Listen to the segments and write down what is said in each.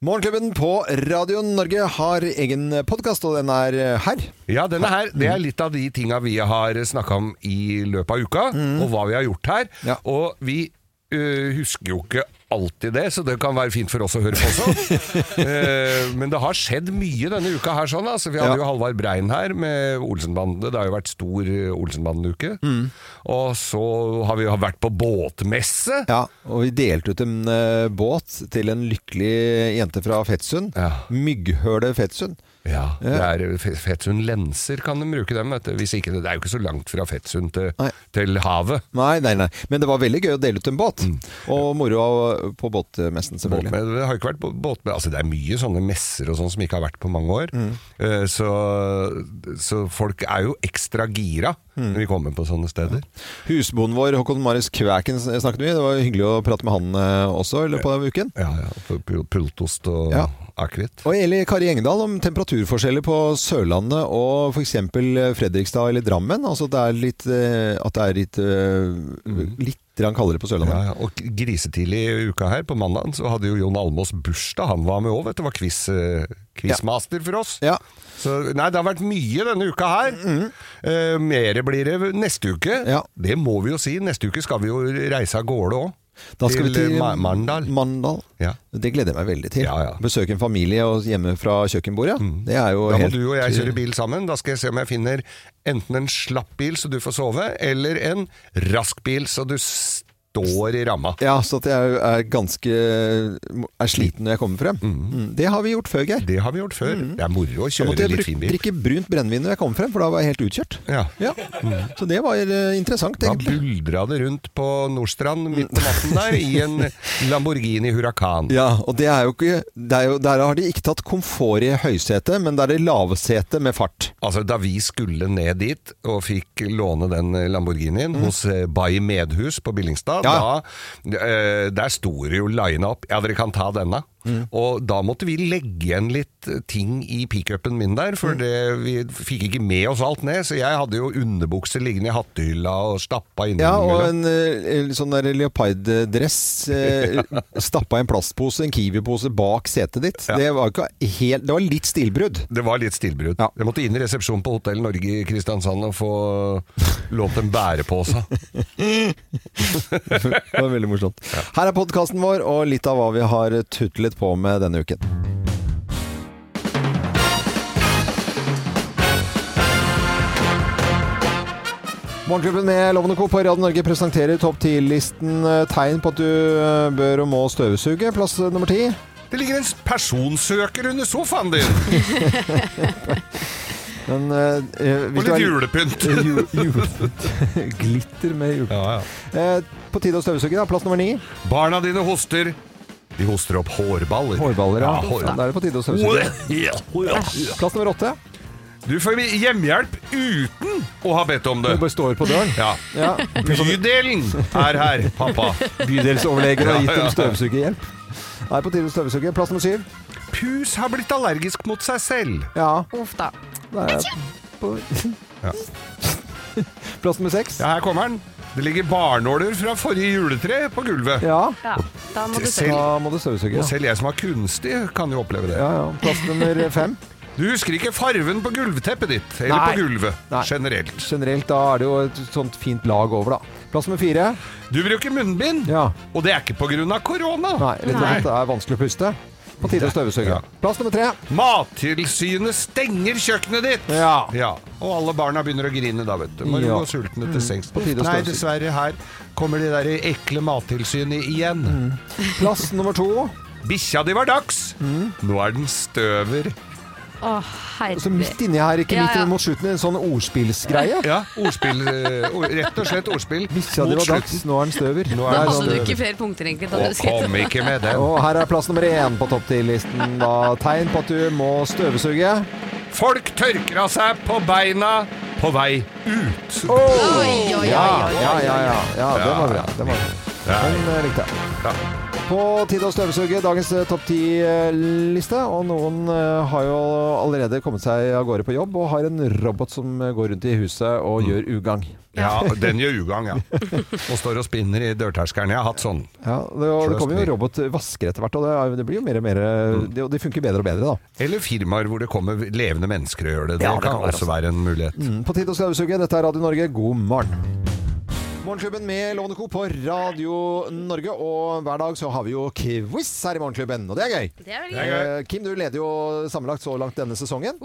Morgenklubben på Radio Norge har egen podkast, og den er eh, her. Ja, denne her, Det er litt av de tinga vi har snakka om i løpet av uka, og hva vi har gjort her. Mm. Ja. Og vi øh, husker jo ikke alltid det, så det kan være fint for oss å høre på også. Eh, men det har skjedd mye denne uka her. sånn altså. Vi Ja. hadde jo Halvard Brein her med Olsenbandene. Det har jo vært stor eh, Olsenbanden-uke. Mm. Og så har vi jo vært på båtmesse. Ja, og vi delte ut en eh, båt til en lykkelig jente fra Fettsund. Ja. Mygghølet Fettsund. Ja, det er Fe- Fettsund lenser kan de bruke dem, vet du. Hvis ikke, det er jo ikke så langt fra Fettsund til, Nei. til havet. Nei, nei, nei. Men det var veldig gøy å dele ut en båt. Mm. Og moro av- på båtmessen, selvfølgelig. Båtmed, det har jo ikke vært bå- båtmed Altså det er mye sånne messer og sånn som ikke har vært på mange år Mm. Eh, så, så folk er jo ekstra gira Mm. Når vi kommer på sånne steder Husbonden vår, Håkon Marius Kvæken, snakket vi. Det var hyggelig å prate med han eh, også i løpet av uken. Ja, ja, for pul- pultost og Ja. akvitt Og Eli Kari Engdahl om temperaturforskjeller på Sørlandet og f.eks. Fredrikstad eller Drammen. Altså det er litt, eh, at det er litt, Mm. eh, litt grann kaldere på ja, Sørlandet. ja. Og grisetidlig i uka her på mandagen Så hadde jo Jon Almås bursdag Han var med også, vet du, var quiz, eh, quizmaster for oss Ja. Mm-hmm. Så, nei, det har vært mye denne uka her. Eh, Mere blir det neste uke. Ja. Det må vi jo si. Neste uke skal vi jo reise av gårde òg. Da skal vi til eh, Ma Mandal. Mandal. Ja. Det gleder jeg meg veldig til. Ja, ja. Besøke en familie og hjemme fra kjøkkenbordet. Det er jo Da må helt du og jeg kjøre bil sammen. Da skal jeg se om jeg finner enten en slapp bil så du får sove, eller en rask bil så du står i ramma. Ja, så at jeg er ganske er sliten når jeg kommer frem. Mm. Det har vi gjort før, Geir. Mm. Det har vi gjort før. Det er moro å Da kjøre måtte jeg litt bruk- fin bil. drikke brunt brennevin når jeg kom frem, for da var jeg helt utkjørt. Ja. Mm. Ja. Så det var eh, interessant, Da egentlig. buldra det rundt på Nordstrand midt på natten der i en Lamborghini Huracan. Ja, og det er jo ikke det er jo, Der har de ikke tatt komfort i høysetet, men det er det lavsetet med fart. Altså, da vi skulle ned dit og fikk låne den Lamborghinien hos eh, Bay Medhus på Billingstad, Mhm. Ja. da, eh, der sto det jo lina opp. Ja, dere kan ta denne. Mhm. Og da måtte vi legge igjen litt eh, ting i pickupen min der, Mhm. for det, vi fikk ikke med oss alt ned. Så jeg hadde jo underbukser liggende i hattehylla og stappa inni Ja, og mellom. en eh, sånn der leoparddress eh, stappa i en plastpose, en Kiwi-pose, bak setet ditt. Ja. Det var ikke helt Det var litt stilbrudd. Det var litt stillbrudd. Ja. Jeg måtte inn i resepsjonen på Hotell Norge i Kristiansand og få lånt en bærepose. Det var veldig morsomt. Her er podkasten vår og litt av hva vi har tutlet på med denne uken. Morgenklubben med Lovende Co. på Radio Norge presenterer topp 10-listen eh, tegn på at du eh, bør og må støvsuge. Plass eh, nummer ti. Det ligger en personsøker under sofaen din, Den, eh, eh, hvis og du litt er- julepynt. Eh, ju- jule- Glitter med jule. Ja, ja. Eh, på tide å støvsuge, da. Plass nummer ni. Barna dine hoster. De hoster opp hårballer. Hårballer, ja. Ja, hår- Da er det på tide å støvsuge. Æsj. Plass nummer åtte. Du får hjemmehjelp uten å ha bedt om Du det. bare står på døren. Ja. Ja. Bydelen er her, pappa. Bydelsoverleger har Ja, gitt ja. dem støvsugerhjelp. Det er på tide å støvsuge. Plass nummer syv. Pus har blitt allergisk mot seg selv. Ja, Uff da. da er jeg på Ja. Plass nummer seks. Ja, her kommer den. Det ligger barnåler fra forrige juletre på gulvet. Ja, Ja, da må du se. Selv, da må du støvsuge. og Ja. selv jeg som er kunstig, kan jo oppleve det. Ja, ja. Plass nummer fem. Du husker ikke farven på gulvteppet ditt. Eller Nei. på gulvet Nei. generelt. Generelt da er det jo et sånt fint lag over, da. Plass nummer fire. Du bruker munnbind, Ja. og det er ikke pga. korona. Nei, rett og slett det er vanskelig å puste. På tide å støvsuge. Ja. Plass nummer tre. Mattilsynet stenger kjøkkenet ditt! Ja. Ja, Og alle barna begynner å grine da, vet du. Må Ja. gå sultne til sengs. På tide å Nei, støvsuge. dessverre, her kommer de der ekle mattilsynet igjen. Plass nummer to. Bikkja di var dags, Mm. nå er den støver. Å, Så herregud. Altså, midt inni her, ikke Ja, midt ja. mot slutten, en sånn ordspillsgreie. Ja, ordspill. eh, ord- Rett og slett ordspill. Bikkja di mot var dags, slutten. nå er den støver. Nå er Da den hadde du støver. ikke flere punkter, egentlig. Da Å, du kom skulle. ikke med den. Og her er plass nummer én på topp 10-listen. Da tegn på at du må støvsuge. Folk tørker av seg på beina på vei ut. Oi, oi, oi, oi. Ja, ja, ja. ja, ja det var bra. Det var bra. Den eh, likte jeg. Ja. På tide å støvsuge dagens eh, topp ti-liste. Og noen eh, har jo allerede kommet seg av gårde på jobb og har en robot som eh, går rundt i huset og gjør ugagn. Mm. ja, den gjør ugagn, ja. Og står og spinner i dørterskelen. Jeg har hatt sånn. Ja, det, og det kommer jo robotvasker etter hvert, og det, er- det blir jo mer og mer Mm. det, Og de funker bedre og bedre, da. Eller firmaer hvor det kommer levende mennesker og gjør det. Det, Ja, det kan, kan være også være en mulighet. Mm, På tide å støvsuge. Dette er Radio Norge, god morgen. Morgenklubben med Lovende Co. på Radio Norge, og hver dag så har vi jo quiz her i Morgenklubben, og det er gøy. Det er vel er gøy. gøy. Eh, Kim, du leder jo sammenlagt så langt denne sesongen.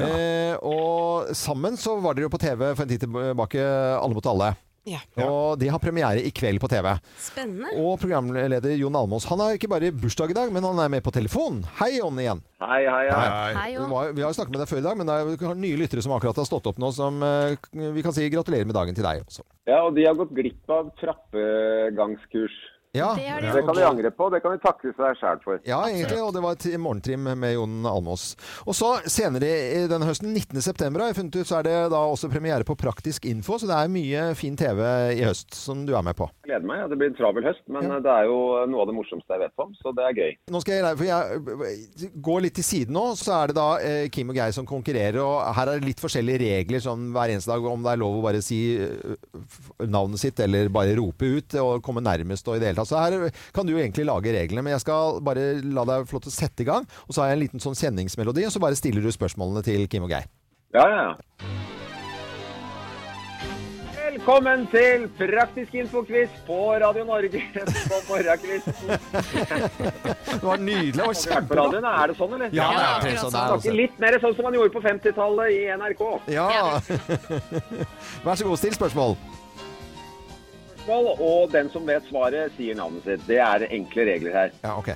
Eh, og sammen så var dere jo på TV for en tid tilbake, Alle mot alle. Ja. Og de har premiere i kveld på TV. Spennende. Og programleder Jon Almås. Han har ikke bare bursdag i dag, men han er med på telefon. Hei, Jon igjen. Hei, hei, hei. Hei, Vi, Jon. var, vi har jo snakket med deg før i dag, men det er jo nye lyttere som akkurat har stått opp nå, som eh, vi kan si gratulerer med dagen til deg også. Ja, og de har gått glipp av trappegangskurs. Ja, Det er det. Det kan de angre på, det kan de takke seg sjæl for. Ja, egentlig, og det var et morgentrim med Jon Almås. Og så senere i denne høsten, 19. september, har jeg funnet ut, så er det da også premiere på Praktisk info, så det er mye fin TV i høst som du er med på. Jeg gleder meg. ja. Det blir en travel høst, men eh, det er jo noe av det morsomste jeg vet om, så det er gøy. Nå skal jeg, for jeg går litt til siden nå, så er det da eh, Kim og Geir som konkurrerer, og her er det litt forskjellige regler sånn hver eneste dag, om det er lov å bare si eh, f- navnet sitt, eller bare rope ut, og komme nærmest og i det hele tatt. Så her kan du jo egentlig lage reglene, men jeg skal bare la deg få lov til å sette i gang, og så har jeg en liten sånn sendingsmelodi, og så bare stiller du spørsmålene til Kim og Geir. Ja, ja, ja. Velkommen til Praktisk info-quiz på Radio Norge på morgenkvisten. Det var nydelig, det Har vi var vært på kjempebra. radioen? Er det sånn, eller? Ja, Ja, det er akkurat sånn det er Snakke også. litt mer sånn som man gjorde på 50-tallet i NRK. Ja. Vær så god, still spørsmål. Spørsmål, Og den som vet svaret, sier navnet sitt. Det er enkle regler her. Ja, ok.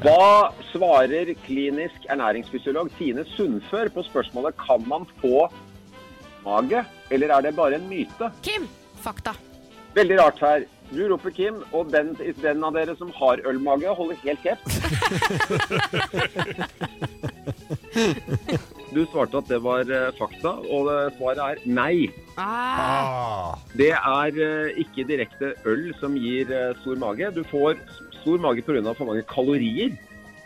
Hva svarer klinisk ernæringsfysiolog Tine Sundfør på spørsmålet kan man få mage, eller er det bare en myte? Kim, fakta. Veldig rart her. Du roper Kim, og den, den av dere som har ølmage, holder helt kjeft. Du svarte at det var eh, fakta, og eh, svaret er nei. Ah, Ah, Det er eh, ikke direkte øl som gir eh, stor mage. Du får s- stor mage pga. for mange kalorier,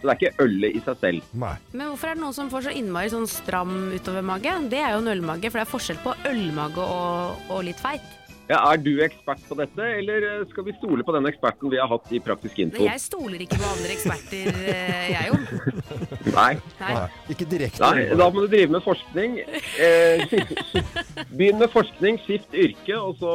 så det er ikke ølet i seg selv. nei. men hvorfor er det noen som får så innmari sånn stram utover mage? Det er jo en ølmage, for det er forskjell på ølmage og, og litt feit. Ja, er du ekspert på dette, eller eh, skal vi stole på den eksperten vi har hatt i Praktisk info? Men jeg stoler ikke på andre eksperter, eh, jeg, Jon. Nei. Nei. Ikke direkte. Nei, da må du drive med forskning. Eh, Begynn med forskning, skift yrke, og så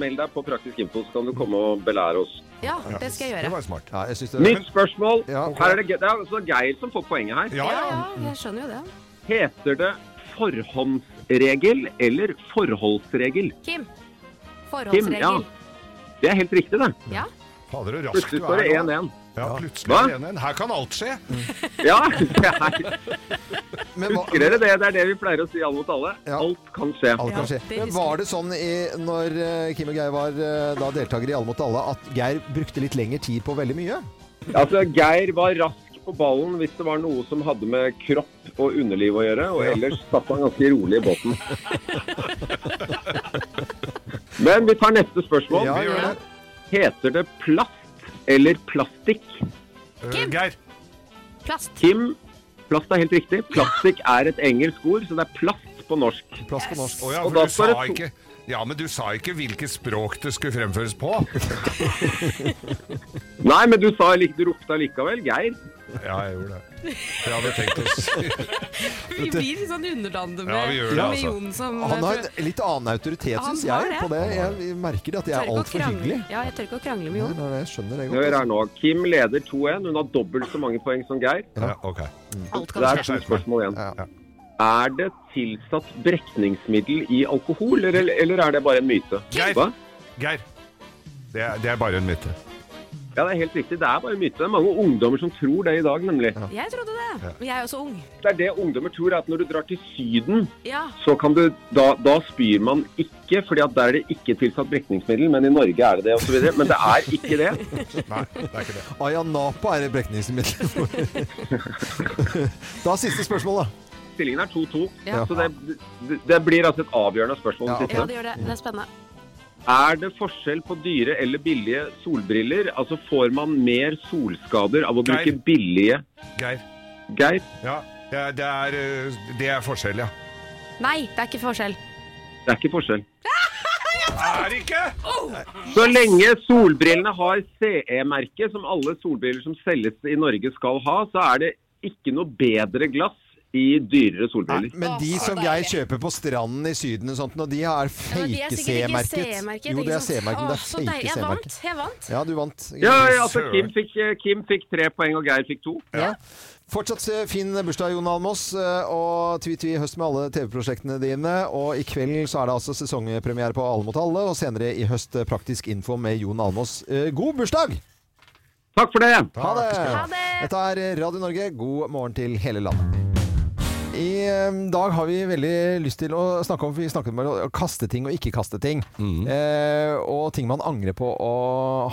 meld deg på Praktisk info, så kan du komme og belære oss. Ja, det skal jeg Det gjøre. var smart. Ja, jeg synes det Nytt spørsmål. Ja, ok. Her er det, Ge- det er altså Geir som får poenget her. Ja, Ja, ja. ja, jeg skjønner jo det. Heter det forhåndsregel eller forholdsregel? Kim, Kim, ja. forholdsregel. Det er helt riktig, det. Ja. Fader, så rask du Plutselig står det er. nå. 1-1. Ja, plutselig Hva? er det 1-1. Her kan alt skje. Ja, det er Men hva- Husker dere det? Det er det vi pleier å si alle mot alle. Ja. Alt kan skje. Alt kan Ja, skje. det Men husker var det sånn i, når eh, Kim og Geir var eh, da deltakere i Alle mot alle, at Geir brukte litt lengre tid på veldig mye? Altså, Geir var rask på ballen hvis det var noe som hadde med kropp og underliv å gjøre, og ellers satt han ganske rolig i båten. Men vi tar neste spørsmål. Ja, gjør det. Heter det plast eller plastikk? Øh, Kim. Geir. Plast. Kim, plast er helt riktig. Plastikk er et engelsk ord, så det er plast på norsk. Plass på norsk. Å ja, Og for da du står sa det to- ikke Ja, men du sa ikke hvilket språk det skulle fremføres på. Nei, men du sa lik- du ropte allikevel, Geir. Ja, jeg gjorde det. For jeg hadde tenkt å si Vi blir sånn underlandet med, Ja, vi gjør det, med altså. Jon som Han har en litt annen autoritet, Han syns har jeg, det. på det. Jeg merker det at jeg Tør er ikke å altfor krangle. hyggelig. Ja, jeg tør ikke å krangle med Nei, Jon. nei, nei, jeg skjønner det godt. Hør her altså. nå. Kim leder 2-1. Hun har dobbelt så mange poeng som Geir. ja, Ok. Mm. Alt Det kan er skje. to spørsmål igjen. Ja. Er det tilsatt brekningsmiddel i alkohol, eller, eller er det bare en myte? Geir. Hva? Geir. Det er, det er bare en myte. Ja, det er helt riktig. Det er bare en myte. Det er mange ungdommer som tror det i dag, nemlig. Jeg trodde det. Men Jeg er jo så ung. Det er det ungdommer tror, er at når du drar til Syden, Ja. så kan du Da, da spyr man ikke, fordi at der er det ikke tilsatt brekningsmiddel, men i Norge er det det, osv. Men det er ikke det. Nei, det er ikke det. Ayanapa er et brekningsmiddel. da siste spørsmål, da. Stillingen er 2-2. Ja. Så det, det, det blir altså et avgjørende spørsmål. Ja, det ok. ja, siste. det gjør det. Det er spennende. Er det forskjell på dyre eller billige solbriller? Altså får man mer solskader av å Geir. bruke billige Geir. Geir? Ja, det er, det er, eh, det er forskjell, ja. Nei, det er ikke forskjell. Det er ikke forskjell. Er det ikke? Så lenge solbrillene har CE-merke, som alle solbriller som selges i Norge skal ha, så er det ikke noe bedre glass i dyrere Nei, solbriller. men de Å, så som Geir deilig. kjøper på stranden i Syden og sånt, når de Men de er er fake sikkert ikke C-merket. Jo, ikke det er sant? C-merket, men det Åh, er så deilig. fake Jeg C-merket. vant. Jeg vant. Ja, du vant. Ja, ja, altså Søren. Kim fikk, eh, Kim fikk tre poeng, og Geir fikk to. Ja. Fortsatt eh, fin bursdag, Jon Almås, eh, og tvi-tvi i høst med alle TV-prosjektene dine. Og i kveld så er det altså sesongpremiere på Alle mot alle, og senere i høst eh, Praktisk info med Jon Almås. Eh, God bursdag! Takk for det! Ha det! Ha det! Dette er Radio Norge, god morgen til hele landet. I eh, dag har vi veldig lyst til å snakke om for Vi snakket om å kaste ting og ikke kaste ting. Mhm. Eh, og ting man angrer på å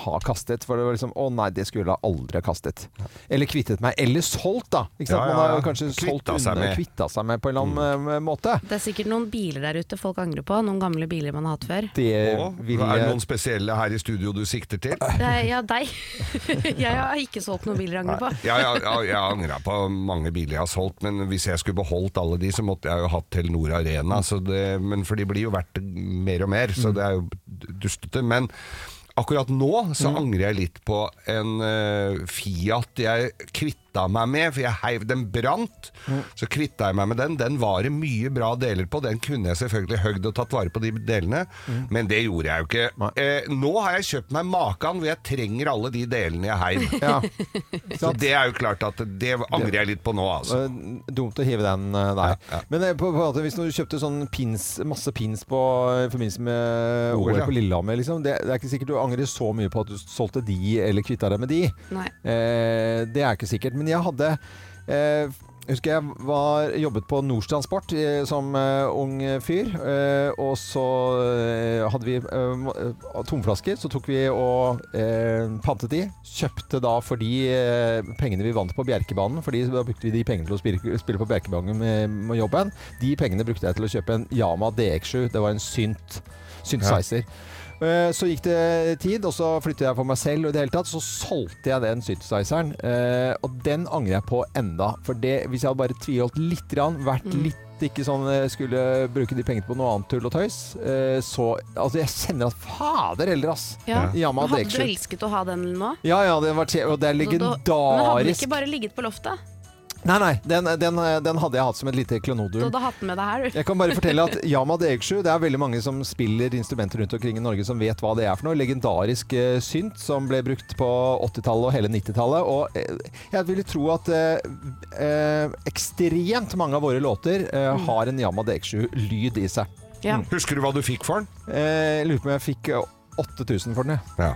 ha kastet. For det var liksom Å nei, det skulle jeg aldri ha kastet. Eller kvittet meg. Eller solgt, da. Ikke sant? Ja, ja, Man har ja. jo kanskje solgt Kvitta seg unna, med. Mhm. kvitta seg med på en eller annen eh, måte. Det er sikkert noen biler der ute folk angrer på. Noen gamle biler man har hatt før. Det Og, vil er det noen spesielle her i studio du sikter til? Det er, ja, deg. Jeg har ikke solgt noen biler jeg angrer på. Ja, ja, ja, jeg angra på mange biler jeg har solgt, men hvis jeg skulle beholdt alle de, så måtte jeg jo hatt Telenor Arena. Så det, men for de blir jo verdt mer og mer, så det er jo dustete. Men akkurat nå så angrer jeg litt på en eh, Fiat jeg kvitta meg med, for jeg heiv den brant. Så kvitta jeg meg med den. Den var det mye bra deler på. Den kunne jeg selvfølgelig høgd og tatt vare på de delene, men det gjorde jeg jo ikke. Eh, nå har jeg kjøpt meg makan hvor jeg trenger alle de delene jeg heiv. Ja. Så det er jo klart at det angrer jeg litt på nå, altså. Eh, Dumt å hive den eh, der. Men eh, på, på en måte, hvis du kjøpte sånn pins, masse pins på, i forbindelse med OL, OL ja. på Lillehammer, liksom, det, det er ikke sikkert du angrer så mye på at du solgte de eller kvitta deg med de. Nei. Eh, det er ikke sikkert. Men jeg hadde eh, Husker jeg var, jobbet på Nordstransport eh, som eh, ung fyr. Eh, og så eh, hadde vi eh, må- eh, tomflasker. Så tok vi og eh, pantet de. Kjøpte da for de eh, pengene vi vant på Bjerkebanen. Fordi da brukte vi de pengene til å spille, spille på Bjerkebanen med, med jobben. De pengene brukte jeg til å kjøpe en Yama DX7. Det var en synt. Synthesizer. Eh, Så gikk det tid, og så flyttet jeg for meg selv. Og i det hele tatt så solgte jeg den synthesizeren. eh, Og den angrer jeg på enda. For det, hvis jeg hadde bare tviholdt litt, grann, vært Mm. litt ikke sånn eh, skulle bruke de pengene på noe annet tull og tøys, eh, så Altså, jeg kjenner at Fader heller, ass! Ja. Yamaha Hadde du DX7. elsket å ha den nå? Ja, ja, det, var, te- og det er Så da- Men hadde den legendarisk. ikke bare ligget på loftet? Nei, nei, den, den, den hadde jeg hatt som et Du lite klenodium. hadde hatt den med deg her, du. Jeg kan bare fortelle at Yama DX7 Det er veldig mange som spiller instrumenter rundt omkring i Norge som vet hva det er for noe. Legendarisk eh, synt som ble brukt på 80-tallet og hele 90-tallet. Og eh, jeg ville tro at eh, eh, ekstremt mange av våre låter eh, har en Yama DX7-lyd i seg. Ja. Mm. Husker du hva du fikk for den? Eh, jeg lurer på om jeg fikk eh, 8000 for den, jeg. Ja.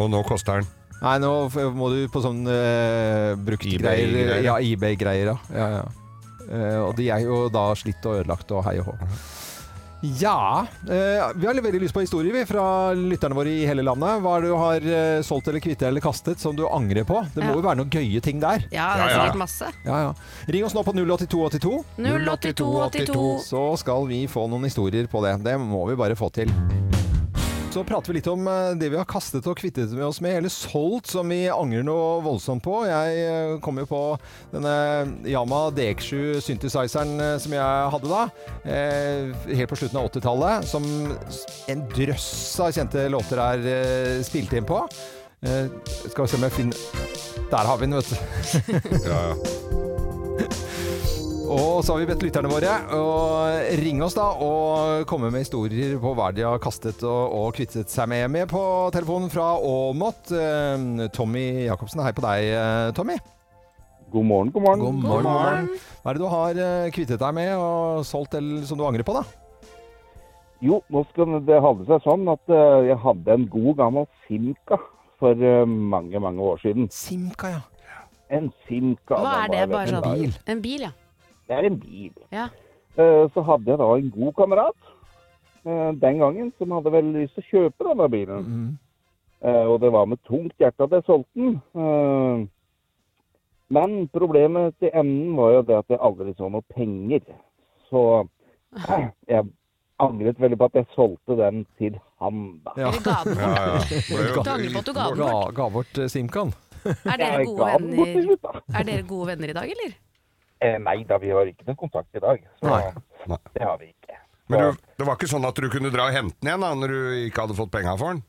Og nå koster den. Nei, nå f- må du på sånn eh, brukt eBay-greier. greier. Ja, eBay-greier, ja. ja, ja. Eh, og de er jo da slitt og ødelagt og hei og hå. Ja eh, Vi har veldig lyst på historier vi, fra lytterne våre i hele landet. Hva er det du har eh, solgt eller kvittet eller kastet som du angrer på? Det må Ja. jo være noen gøye ting der. ja, det Ja, er ja. sikkert masse. Ja, ja. Ring oss nå på 08282. 08282. Så skal vi få noen historier på det. Det må vi bare få til. Så prater vi litt om eh, det vi har kastet og kvittet med oss med, eller solgt, som vi angrer noe voldsomt på. Jeg eh, kom jo på denne Yama DX7 synthesizeren eh, som jeg hadde da, eh, helt på slutten av 80-tallet, som s- en drøss av kjente låter er eh, spilt inn på. Eh, Skal vi se om jeg finner Der har vi den, vet du. Ja, ja. Og så har vi bedt lytterne våre å ringe oss da og komme med historier på hva de har kastet og, og kvittet seg med. Med på telefonen fra Åmot, eh, Tommy Jacobsen. Hei på deg, eh, Tommy. God morgen, god morgen. morgen. Hva er det du har eh, kvittet deg med og solgt eller som du angrer på, da? Jo, nå skal det hadde seg sånn at eh, jeg hadde en god gammel Simca for eh, mange, mange år siden. Simka, ja. En Simca. Hva den er det? var Bare sånn legendarisk. bil. En bil, ja. Det er en bil. Ja. Eh, Så hadde jeg da en god kamerat eh, den gangen som hadde vel lyst til å kjøpe denne bilen. Mm. Eh, Og det var med tungt hjerte at jeg solgte den. Eh, Men problemet til enden var jo det at jeg aldri så noe penger. Så eh, jeg angret veldig på at jeg solgte den til han, da. Ja. Eller ga den Ja, bort. ja. Ble jo Du angrer på at du ga den Ga, bort. ga bort eh, Simkan. Er dere Jeg gode ga den bort til venner, slutt, da. er dere gode venner i dag, eller? Eh, nei da, vi har ikke noen kontakt i dag. Så Nei. Nei. det har vi ikke. Men du, det var ikke sånn at du kunne dra og hente den igjen da, når du ikke hadde fått penga for den?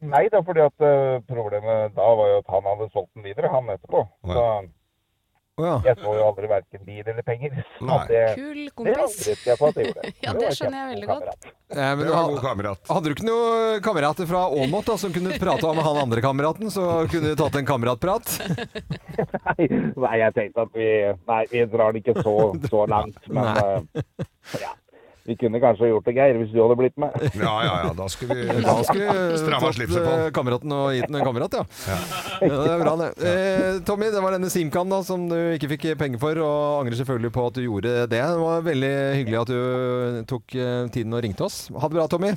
Nei da, fordi at eh, problemet da var jo at han hadde solgt den videre, han etterpå. Ja. Så Å ja. jeg så jo aldri verken bil eller penger. Så Nei. Det, Kul det kompis. angret jeg på at jeg gjorde. Ja, det skjønner jeg veldig godt. Eh, men Det du var en god had- kamerat. hadde du ikke noen kamerater fra Åmot da, som kunne prata med han andre kameraten, så kunne du tatt en kameratprat? Nei, nei, jeg tenkte at vi, nei, vi drar det ikke så, så langt. Men eh, ja, vi kunne kanskje gjort det, Geir, hvis du hadde blitt med. Ja, ja, ja, da skulle vi Da skulle du Stramma fått slipset på. eh, kameraten og gitt den en kamerat, ja. ja. Det er bra, det. Eh, Tommy, det var denne Simkan da, som du ikke fikk penger for, og angrer selvfølgelig på at du gjorde det. Det var veldig hyggelig at du tok eh, tiden og ringte oss. Ha det bra, Tommy.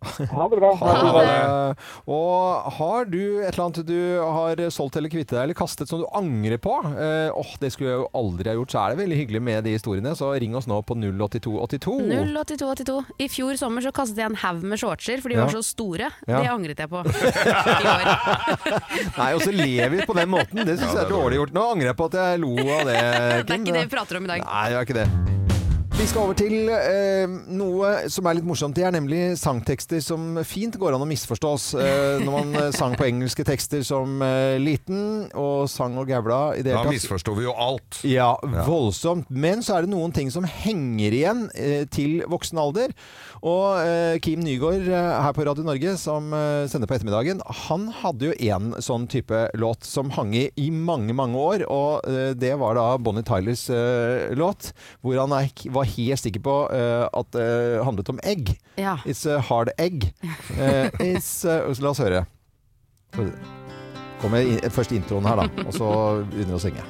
Ha det bra. Ha det. Eh, Og har du et eller annet du har solgt eller kvittet deg eller kastet som du angrer på? Eh, Åh, det skulle jeg jo aldri ha gjort, så er det veldig hyggelig med de historiene. Så ring oss nå på 08282. 08282. I fjor sommer så kastet jeg en haug med shortser, for de Ja. var så store. Ja. Det angret jeg på. I år. Nei, og så ler vi på den måten. Det syns jeg Ja, er det er dårlig gjort. Nå angrer jeg på at jeg lo av det. Det er ikke det vi prater om i dag. Nei, det er ikke det. Vi skal over til eh, noe som er litt morsomt. Det er nemlig sangtekster som fint går an å misforstås. Eh, når man eh, sang på engelske tekster som eh, liten, og sang og gævla i det Da hele tatt. misforsto vi jo alt. Ja, voldsomt. Men så er det noen ting som henger igjen eh, til voksen alder. Og eh, Kim Nygaard eh, her på Radio Norge, som eh, sender på ettermiddagen, han hadde jo en sånn type låt som hang i i mange, mange år. Og eh, det var da Bonnie Tylers eh, låt, hvor han er, var helt sikker på eh, at det handlet om egg. Ja. It's a hard egg. Eh, it's, eh, så la oss høre. Kommer in, først introen her, da, og så begynner vi å synge.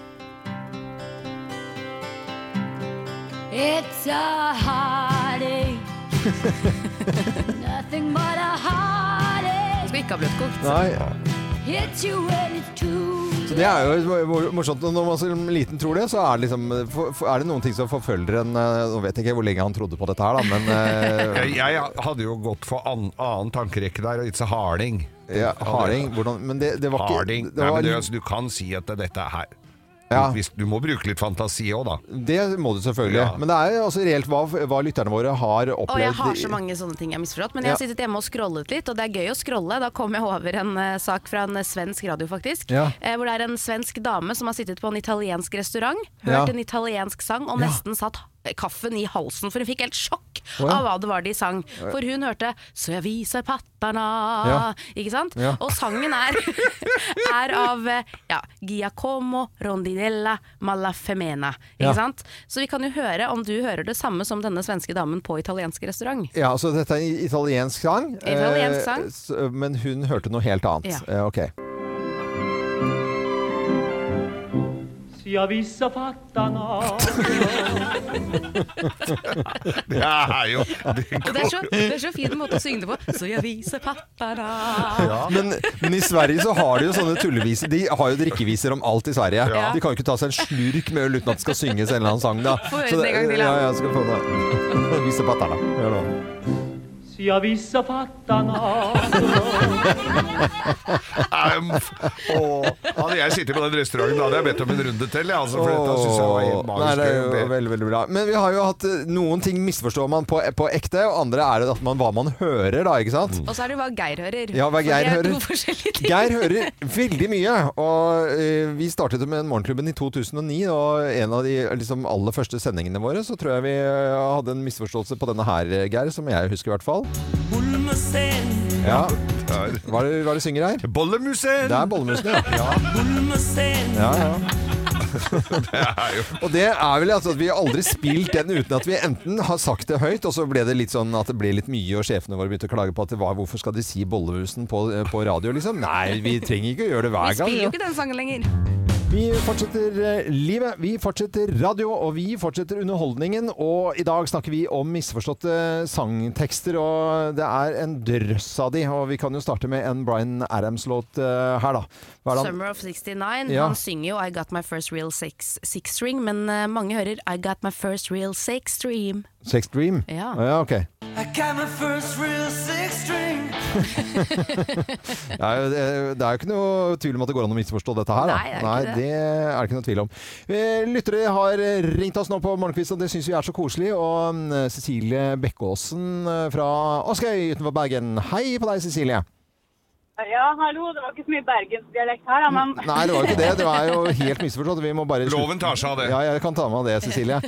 It's a heartache. Nothing but a heartache. Skulle ikke ha blitt kokt. Nei, Hits you when it's too Så det er jo mor- morsomt. og Når man som liten tror det, så er det, liksom, for- for- er det noen ting som forfølger en eh, Nå vet jeg ikke hvor lenge han trodde på dette her, da, men eh, Jeg, jeg hadde jo gått for an, annen tankerekke der, og it's a harding. ja, Harding hvordan, Men det, det var ikke Harding. det, Nei, var, men det, altså, du kan si at dette er her Ja. Hvis, Du må bruke litt fantasi òg, da. det må du selvfølgelig. Ja. Men det er jo altså reelt hva, hva lytterne våre har opplevd. Og jeg har så mange sånne ting jeg har misforstått. Men jeg har sittet hjemme og scrollet litt, og det er gøy å scrolle. Da kom jeg over en eh, sak fra en eh, svensk radio, faktisk. Ja. Eh, hvor det er en svensk dame som har sittet på en italiensk restaurant, hørt Ja. en italiensk sang og nesten satt kaffen i halsen, for hun fikk helt sjokk Å, ja. av hva det var de sang. For hun hørte 'Så jeg viser patterna', Ja. ikke sant? Ja. Og sangen er, er av eh, ja, Giacomo Rondinella Malafemena, ikke Ja. sant? Så vi kan jo høre om du hører det samme som denne svenske damen på italiensk restaurant. Ja, så dette er en italiensk sang, eh, Italiensk sang. s- men hun hørte noe helt annet. Ja. Eh, ok. Si avvisa fattarna Det er jo Og det er, så, det er så fin måte å synge det på. Så jeg viser pappara. Men, men i Sverige så har de jo sånne tulleviser. De har jo drikkeviser om alt i Sverige. Ja. De kan jo ikke ta seg en slurk med øl uten at det skal synges en eller annen sang, da. Få høre Så den en gang til, da. Ja, ja, skal få det. Vise patterna. Hør nå. Si avvisa fattarna Ehm, og, Hadde jeg sittet på den restauranten, da hadde jeg bedt om en runde til. jeg, Altså, for dette synes jeg var helt Nei, det er magisk. jo veldig, veldig bra. Men vi har jo hatt eh, noen ting misforstår man på, eh, på ekte, og andre er det at man, hva man hører, da, ikke sant? Og så er det jo hva Geir hører. Ja, hva For Geir det er hører. To forskjellige ting. Geir hører veldig mye, og eh, vi startet med Morgenklubben i 2009, og en av de liksom, aller første sendingene våre, så tror jeg vi eh, hadde en misforståelse på denne her, eh, Geir, som jeg husker i hvert fall. Ja, Ja. hva er det, hva er det synger her? Bollemusen! Det er bollemusene, ja. ja, ja. er jo- Og det er vel altså at vi har aldri spilt den uten at vi enten har sagt det høyt, og så ble det litt sånn at det ble litt mye, og sjefene våre begynte å klage på at det var, hvorfor skal de si bollemusen på, på radio, liksom? Nei, vi trenger ikke å gjøre det Vi hver gang. spiller jo ikke den sangen lenger. Vi fortsetter eh, livet, vi fortsetter radio, og vi fortsetter underholdningen. Og i dag snakker vi om misforståtte sangtekster, og det er en drøss av de. Og vi kan jo starte med en Bryan Adams-låt eh, her, da. Hva er det han- Summer of 69. Ja. Han synger jo I Got My First Real Six, six String, men eh, mange hører I Got My First Real Six Stream. Sex Dream? Ja. Å ja ok. I got my first real six string. Det er, jo- det er jo ikke noe tvil om at det går an å misforstå dette her. Da. Nei, det er ikke det. er det ikke noe tvil om. Eh, Lyttere har ringt oss nå på Morgenkvist, og det syns vi er så koselig. Og mm, Cecilie Bekkåsen eh, fra Askøy utenfor Bergen. Hei på deg, Cecilie. Ja, hallo. Det var ikke så mye bergensdialekt her, da, men Nei, det var jo ikke det. Det var jo helt misforstått. Vi må bare Loven tar seg av det. Ja, jeg kan ta med meg det, Cecilie.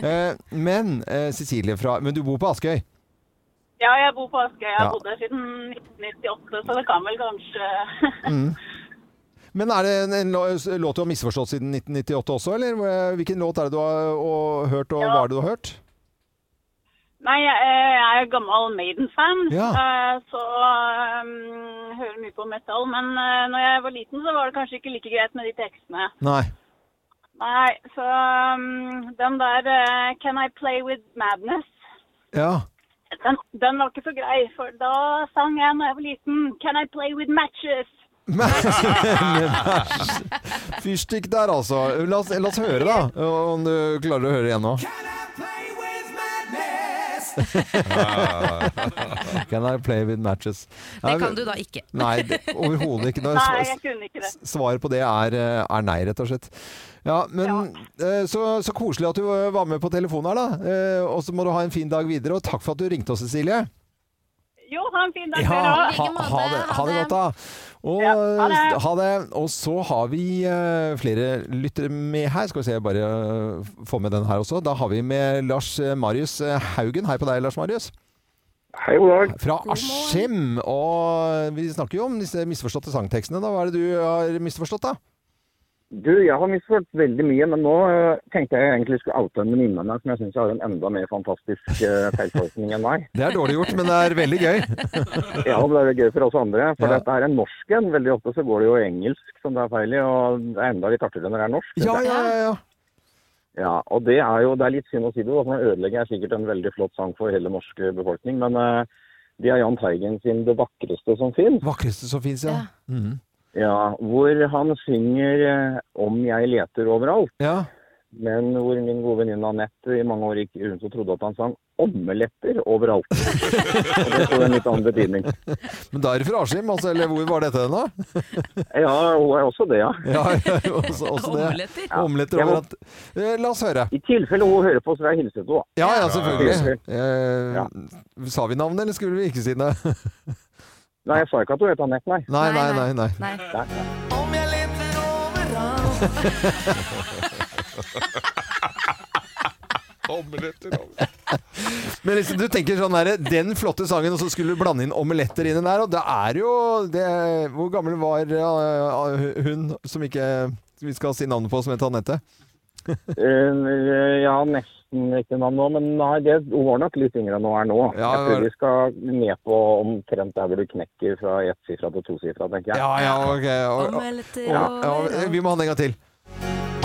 Eh, Men eh, Cecilie fra Men du bor på Askøy? ja, jeg bor på Askøy. Jeg har Ja. bodd her siden 1998, så det kan vel kanskje Mm. Men er det en, en lå- låt du har misforstått siden 1998 også, eller eh, hvilken låt er det du har og, hørt, og Ja. hva er det du har hørt? Nei, jeg, jeg er gammel Maiden-fan, Ja. eh, så um, hører mye på metal. Men eh, når jeg var liten, så var det kanskje ikke like greit med de tekstene. Nei. Nei, så um, den der eh, Can I play with madness? Ja. Den, den var ikke så grei, for da sang jeg når jeg var liten Can I play with matches? Fyrstikk der, altså. La oss, la oss høre, da. Om du klarer å høre igjen nå. Can I play with madness? Can I play with matches? Det kan du da ikke. Nei, det- overhodet ikke. Da- Nei, jeg kunne ikke det. Svaret på det er, eh, er nei, rett og slett. Ja, men eh, Så, så koselig at du eh, var med på telefonen her, da. Eh, Og så må du ha en fin dag videre, og takk for at du ringte oss, Cecilie. Jo, ha en fin dag, Ja, dere òg. ha, ha, måte. det, ha Ha det det. godt, da. Og, Ja, ha det. ha det. Og så har vi eh, flere lyttere med her. Skal vi se, bare eh, få med den her også. Da har vi med Lars eh, Marius eh, Haugen. Hei på deg, Lars Marius. Hei, god dag. Fra Askim. Og vi snakker jo om disse misforståtte sangtekstene. Da. Hva er det du har misforstått, da? Du, jeg har misforstått veldig mye, men nå eh, tenkte jeg egentlig skulle oute en venninne av meg som jeg syns har en enda mer fantastisk eh, feiltolkning enn meg. Det er dårlig gjort, men det er veldig gøy. Ja, det er jo gøy for oss andre, for Ja. dette her er norsk en. Veldig ofte så går det jo i engelsk som det er feil i, og det er enda litt artigere når det er norsk. synes Ja, jeg. ja, ja. ja. ja. Og det er jo det er litt synd å si det, da, for nå ødelegger jeg sikkert en veldig flott sang for hele norsk befolkning, men eh, det er Jahn Teigen sin 'Det vakreste som fins'. Vakreste som fins, ja. Mhm. Ja, hvor han synger eh, 'Om jeg leter overalt', ja. men hvor min gode venninne Anette i mange år gikk rundt og trodde at han sang 'ommeletter overalt'. og det får en litt annen betydning. Men da er det fra Askim, altså. Eller hvor var dette hen, da? Ja, hun er også det, ja. Ja, ja, også, også det. Omeletter. Omeletter Jeg må- overalt. Eh, La oss høre. I tilfelle hun hører på, så vil jeg hilse til henne. Ja, ja, selvfølgelig. Ja. Eh, sa vi navnet, eller skulle vi ikke si det? Nei, jeg sa ikke at hun het Anette, nei. Nei, nei, nei. nei. Nei. Om jeg leter overalt. Men liksom, du tenker sånn der, den flotte sangen, og så skulle du blande inn omeletter inni der, og det er jo det, Hvor gammel var eh, hun som ikke vi skal si navnet på, som het Anette? Eh, ja, nesten riktig navn nå, men nei, det, hun var nok litt yngre enn hun er nå. Ja, jeg tror vi skal ned på omtrent der hvor du knekker fra ettsifra til tosifra, tenker jeg. Ja, ja, ok. Og, ja, ja, vi må ha den en gang til.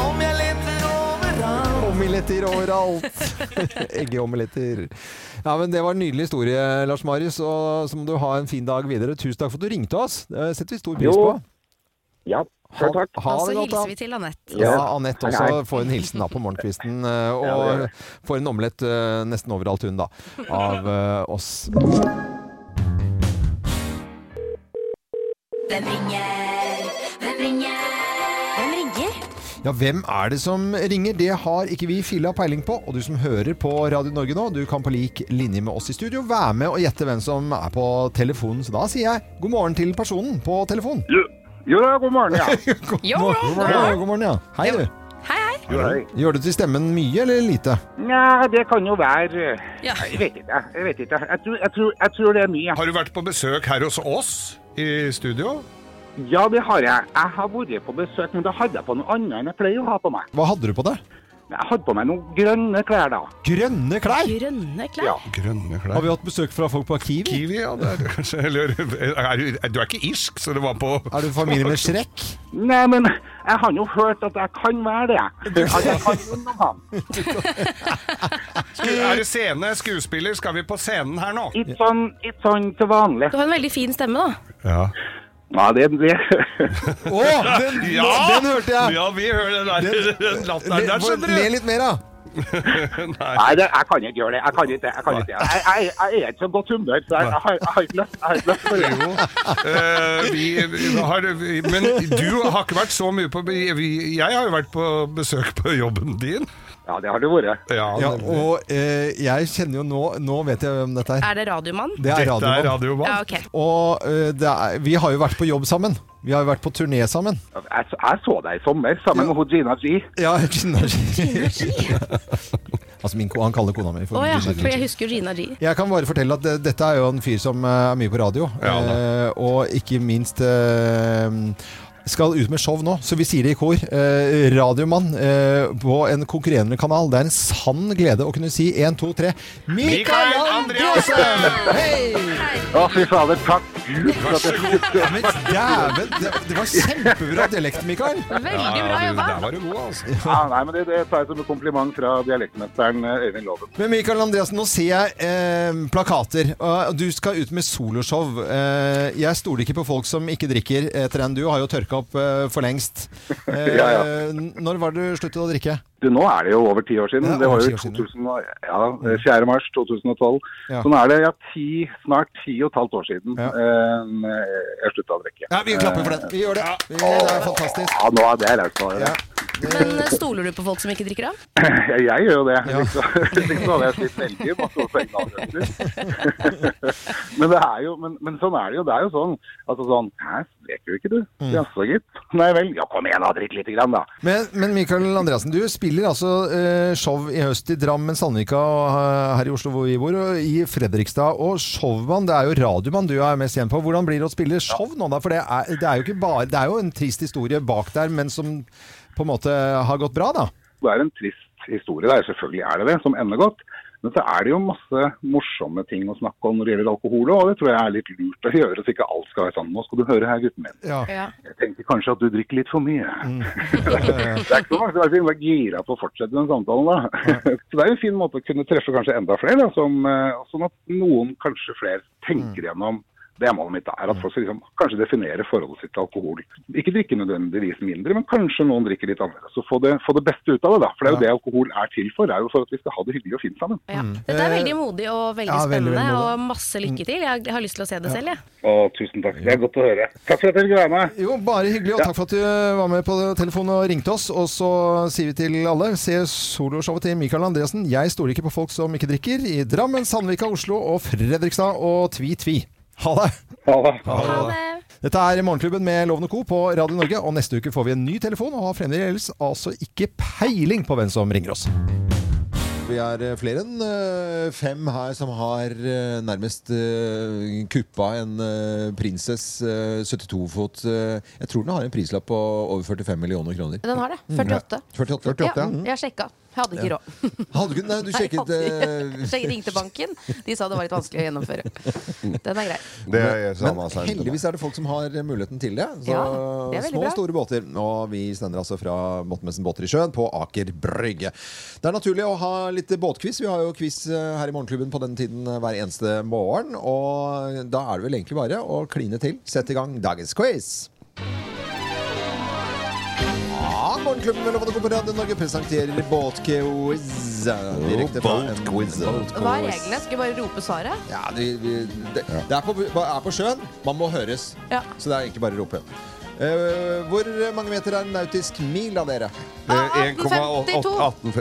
Om jeg leter overalt. Omeletter overalt. Eggeomeletter. Ja, men det var en nydelig historie, Lars Marius, og så må du ha en fin dag videre. Tusen takk for at du ringte oss. Det setter vi stor pris på. Jo. Ja, Ha, sjøl takk. ha Og så det godt, da. hilser vi til Anette. Ja, Ja. Anette Hei, også hei. får en hilsen da på morgenkvisten, eh, Ja, det gjør og jeg. får en omelett eh, nesten overalt hun da, av eh, oss. Hvem ringer? Hvem ringer? Hvem ringer? Ja, hvem er det som ringer? Det har ikke vi filla peiling på, og du som hører på Radio Norge nå, du kan på lik linje med oss i studio være med og gjette hvem som er på telefonen, så da sier jeg god morgen til personen på telefonen. Jo, ja, god morgen, ja. Jo, Mor- jo, god morgen, ja. God morgen, ja. Hei du. Hei, hei. Gjør du til stemmen mye eller lite? Nei, det kan jo være Ja. Jeg vet ikke. Jeg vet ikke. Jeg tror, jeg tror, jeg tror det er mye. Har du vært på besøk her hos oss i studio? Ja, det har jeg. Jeg har vært på besøk, men da hadde jeg på noe annet enn jeg pleier å ha på meg. Hva hadde du på deg? Jeg hadde på meg noen grønne klær da. Grønne klær! Grønne klær. Ja. Grønne Har klær. vi hatt besøk fra folk på Arkiv? Kiwi, ja. Det er det kanskje. Eller er du, er, du er ikke irsk, så det var på Er du familie med Shrek? Nei, men jeg har jo hørt at jeg kan være det. At jeg kan noen av ham. Er det scene, skuespiller? Skal vi på scenen her nå? Litt sånn, litt sånn til vanlig. Du har en veldig fin stemme, da. Ja, Ja, det, det. Å, den, den hørte jeg! Ja, vi hører den der. Den Le- latteren der, få- skjønner Le du. litt mer, da. Nei. Nei, det, jeg kan ikke gjøre det. Jeg kan ikke det. Jeg, kan ikke det. jeg, jeg, jeg er ikke så godt humør, så jeg, jeg, har, jeg har ikke lyst- jeg har ikke lyst til det. Jo. Eh, vi, vi har, vi- men du har ikke vært så mye på vi- Jeg har jo vært på besøk på jobben din. Ja, det har det vært. Ja, Ja, nemlig. og eh, jeg kjenner jo nå Nå vet jeg hvem dette er. Er det Radiomann? Det er Dette er Radiomann. Radiomann. Ja, ok. Og eh, det er, vi har jo vært på jobb sammen. Vi har jo vært på turné sammen. Jeg, jeg så deg i sommer sammen med hun Gina G. Ja, Gina altså min, ko- han kaller kona mi for Å ja, Gina for G. jeg husker jo Gina G. Jeg kan bare fortelle at det, dette er jo en fyr som eh, er mye på radio. Ja, eh, og ikke minst eh, skal ut med show nå, så vi sier det i kor. Eh, Radiomann eh, på en konkurrerende kanal. Det er en sann glede å kunne si 1, 2, 3 Mikael Andreassen! Hei! Å, fy fader, takk Gud for at jeg Ja, men dæven, det, det var kjempebra dialekt, Mikael. Veldig bra Ja, du, jobba. Der var du god, altså. ja, Nei, men det, det tar jeg som en kompliment fra dialektmesteren eh, Øyvind Loven. Men Mikael Andreassen, nå ser jeg eh, plakater. og Du skal ut med soloshow. Eh, jeg stoler ikke på folk som ikke drikker eh, etter en. Du har jo tørka opp eh, for lengst. Eh, Ja, ja. n- Når var det du sluttet å drikke? Du, nå er det jo over ti år siden. Det er Det, var over jo ti år Mm. 2000, og- ja, eh, 4. mars 2012. Ja. Så nå er det ja, ti, snart ti og et halvt år siden Ja. eh, jeg slutta å drikke. Eh, Ja, vi klapper for den. Vi gjør det. Vi, det er fantastisk. Ja, nå er det løst. nå er det. Ja. Men eh, stoler du på folk som ikke drikker, da? Jeg, jeg gjør jo det. Ja. Liksom, liksom hadde jeg slitt veldig masse å selge avgjørelser. men, det er jo, men, men sånn er det jo. Det er jo sånn. Altså sånn Hæ, drikker du ikke, du? Mm. Jaså, gitt. Nei vel. Ja, kom igjen, da. Drikk lite grann, da. Men, men Mikael Andreassen, du spiller altså eh, show i høst i Drammen, Sandvika og eh, her i Oslo hvor vi bor, og i Fredrikstad. Og showmann, det er jo radiomann du er mest kjent på. Hvordan blir det å spille show nå, da? For det er, det er jo ikke bare Det er jo en trist historie bak der, men som på en måte har gått bra, da. Det er en trist historie der, selvfølgelig er det det, som ender godt. Men så er det jo masse morsomme ting å snakke om når det gjelder alkohol, og det tror jeg er litt lurt å gjøre, så ikke alt skal være sånn. Nå skal du høre her, gutten min. Ja. Ja. Jeg tenker kanskje at du drikker litt for mye. Mm. det er ikke så mange som er så himla gira på å fortsette den samtalen da. så det er jo en fin måte å kunne treffe kanskje enda flere, da, som, eh, sånn at noen kanskje flere tenker Mm. gjennom det er målet mitt da, er at folk skal liksom, kanskje definere forholdet sitt til alkohol. Ikke drikke nødvendigvis mindre, men kanskje noen drikker litt annerledes. Så få det, få det beste ut av det, da. For det er jo det alkohol er til for. Det er jo for at vi skal ha det hyggelig og fint sammen. Ja. Dette er veldig modig og veldig Ja, veldig, veldig spennende, modig. og masse lykke til. Jeg har lyst til å se det selv, jeg. Å, tusen takk. Det er godt å høre. Takk for at dere ville være med. Jo, bare hyggelig, og takk for at du var med på telefonen og ringte oss. Og så sier vi til alle, se soloshowet til Mikael Andresen. Jeg stoler ikke på folk som ikke drikker. I Drammen, Sandvika, Oslo og Fredrikstad. Og tvi, tvi. Ha det! Ha det. Ha det. Dette er Morgenklubben med Loven og Co. på Radio Norge, og neste uke får vi en ny telefon, og har fremdeles altså ikke peiling på hvem som ringer oss. Vi er eh, flere enn eh, fem her som har eh, nærmest eh, kuppa en eh, prinsess eh, 72-fot. eh, Jeg tror den har en prislapp på over 45 millioner kroner. Den har det. 48. 48. ja. mm. Mm. Jeg sjekka. Jeg hadde ikke råd. Hadde du, nei, du sjekket Nei, jeg hadde eh, ikke. Jeg ringte banken. De sa det var litt vanskelig å gjennomføre. Den er grei. Det er samme Men seg. heldigvis er det folk som har muligheten til det. Så Ja, det er veldig små bra. og store båter. Og vi sender altså fra Båtmessen Båter i sjøen på Aker Brygge. Det er naturlig å ha litt båtquiz. Vi har jo quiz eh, her i Morgenklubben på den tiden eh, hver eneste morgen. Og da er det vel egentlig bare å kline til. Sett i gang dagens quiz. Ja, Morgenklubben med Lovende Kompetanse Norge presenterer båtquiz. Direkte fra en båtquiz. Hva er reglene? Skal vi bare rope svaret? ja, vi, vi, det, det er, på, er på sjøen. Man må høres. Ja. Så det er egentlig bare å rope. Eh, hvor mange meter er en nautisk mil av dere? Ah, Eh, 1,18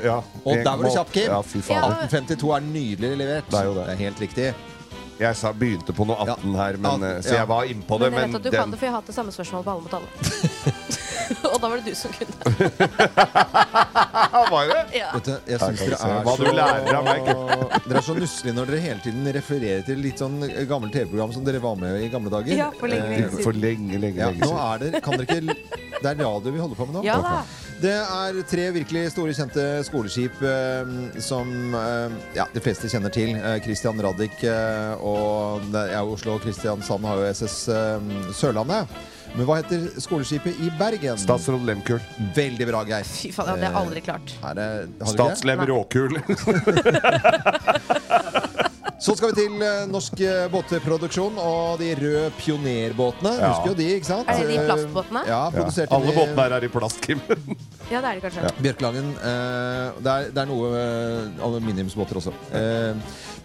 Ja. Og der var du kjapp, Kim. Ja, fy faen. 1852 er nydelig levert. Det er jo det. er helt riktig. Jeg sa, begynte på noe 18 her, men, Ja. eh, så jeg var innpå det. Men jeg Men vet at du kan den det, for jeg har hatt det samme spørsmålet på Alle mot alle. Og da var det du som kunne det. Ja, var det? Ja. Vet du, jeg syns Her kan vi dere er se. Hva du lærer av meg, så Dere er så nusselige når dere hele tiden refererer til litt sånn gammelt TV-program som dere var med i i gamle dager. Ja, for lenge, Eh, lenge siden. For lenge, lenge, Ja, lenge nå siden. er det, kan dere ikke, det er radio vi holder på med nå. Ja da. Det er tre virkelig store kjente skoleskip eh, som eh, ja, de fleste kjenner til. Eh, Christian Radich eh, og det er jo Oslo og Kristiansand har jo SS eh, Sørlandet. Men hva heter skoleskipet i Bergen? Statsråd Lemkuhl. Veldig bra, Geir. Eh, Fy faen, det hadde jeg aldri klart. Er det, har dere det? Statslem Råkuhl. Så skal vi til eh, norsk eh, båtproduksjon og de røde pionerbåtene. Ja. Husker jo de, ikke sant? Eh, Er det de plastbåtene? Ja, Ja. produserte Alle de- båtene her er i plast, Kim. Ja, det er det kanskje. Ja. Bjørkelangen. eh, det, er, det er noe eh, aluminiumsbåter også. Eh,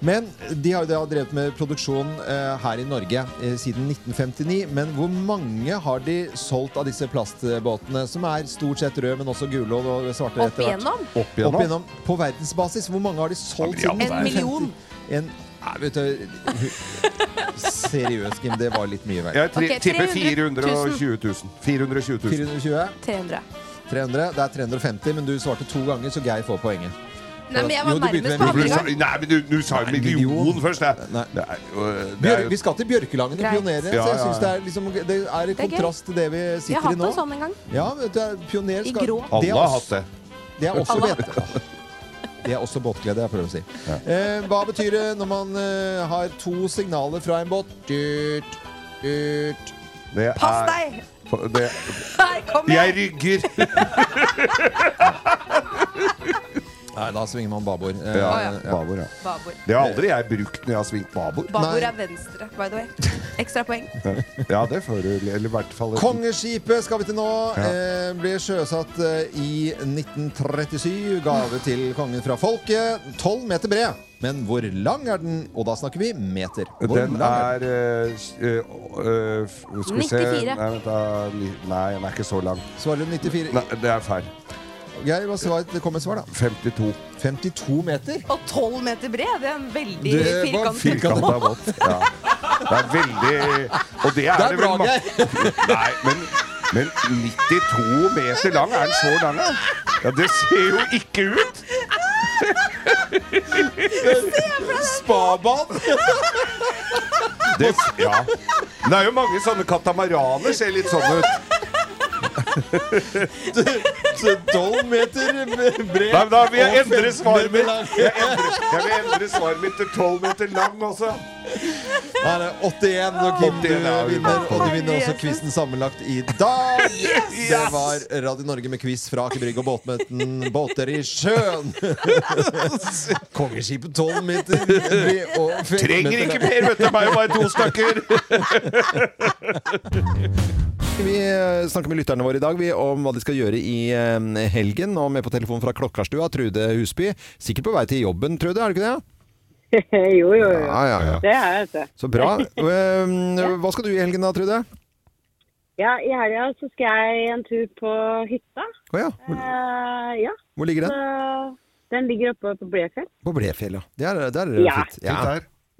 men de har, de har drevet med produksjon eh, her i Norge eh, siden 1959. Men hvor mange har de solgt av disse plastbåtene, som er stort sett røde, men også gule og- og svarte? Opp etter hvert? igjennom? Opp igjennom. På verdensbasis, hvor mange har de solgt Ja, men i all siden? verden. En million. En, nei, vet du Seriøst, Kim, det var litt mye vei. Jeg tri- Ok, tipper 300 000. 420 000. 420 000. 420? 300. 300. Det er 350, men du svarte to ganger, så Geir får poenget. Nei, men jeg var Jo, du begynte nærmest med på en andre million. gang. Nei, men du, du sa en million, først. Det. Det er, øh, det er Bjør- vi skal til Bjørkelangen og Greit. pionerer. Ja, Så jeg ja, synes ja. det er, liksom, det er i Det er gøy. kontrast til det vi Jeg har sitter i hatt nå. en sånn en gang. Ja, vet du, eh, pioner I skal grå. Det er Alle har også- hatt det. Det er også, Alle. vet, det er også båtglede, jeg prøver å si. Eh, hva betyr det når man eh, har to signaler fra en båt? Dut, dut. det er, Pass deg! Det, Her kommer jeg rygger! Nei, da svinger man babord. Eh, Ja, Å, ja. babord, ja. Babord. Det har aldri jeg brukt når jeg har svingt babord. Babord er venstre, by the way. Ekstra poeng. Ja, det får du. Eller i hvert fall Kongeskipet skal vi til nå. Ja. Eh, ble sjøsatt eh, i 1937. Gave til kongen fra folket. Tolv meter bred. Men hvor lang er den? Og da snakker vi meter. Hvor Den lang er er øh, øh, øh, Skal vi se 94. Nei, vent da. Ni- Nei, den er ikke så lang. Svarer du 94? Nei, det er feil. Geir, hva svar, det kom et svar, da. 52. 52 meter? Og 12 meter bred, det er en veldig Det var firkantet firkantet båt. båt. Ja. Det er veldig Og det er Det er det bra, vel ma- Nei, men, men 92 meter lang, er den så lang? da? Ja, det ser jo ikke ut! Spabad! Det, ja. Men det er jo mange sånne katamaraner ser litt sånn ut. Tolv meter bred Nei, men da vil jeg og endre 15 svaret meter mitt. lang. Jeg, endrer, jeg vil endre svaret mitt til 12 meter lang også. Da er det 81 når Kim du 81, ja, vi vinner. vant. Og du vinner også quizen sammenlagt i dag. Det var Radio Norge med quiz fra Aker Brygge og båtmøten Båter i sjøen. Kongeskipet 12 meter. bred og fem Trenger meter ikke lang. mer, vet du. Meg og bare to stykker. Vi eh, snakker med lytterne våre i dag vi, om hva de skal gjøre i eh, helgen. Og med på telefonen fra Klokkarstua, Trude Husby. Sikkert på vei til jobben, Trude, er du ikke det? jo, jo, jo. Ja, ja, ja. Det er jeg, vet du. Så bra. Um, Hva skal du i helgen da, Trude? Ja, I helga så skal jeg en tur på hytta. Å ja. Eh, ja. Hvor ligger den? Så Den ligger oppe på Blefjell. På Blefjell, ja. Det er, der er det Ja. fint. Ja.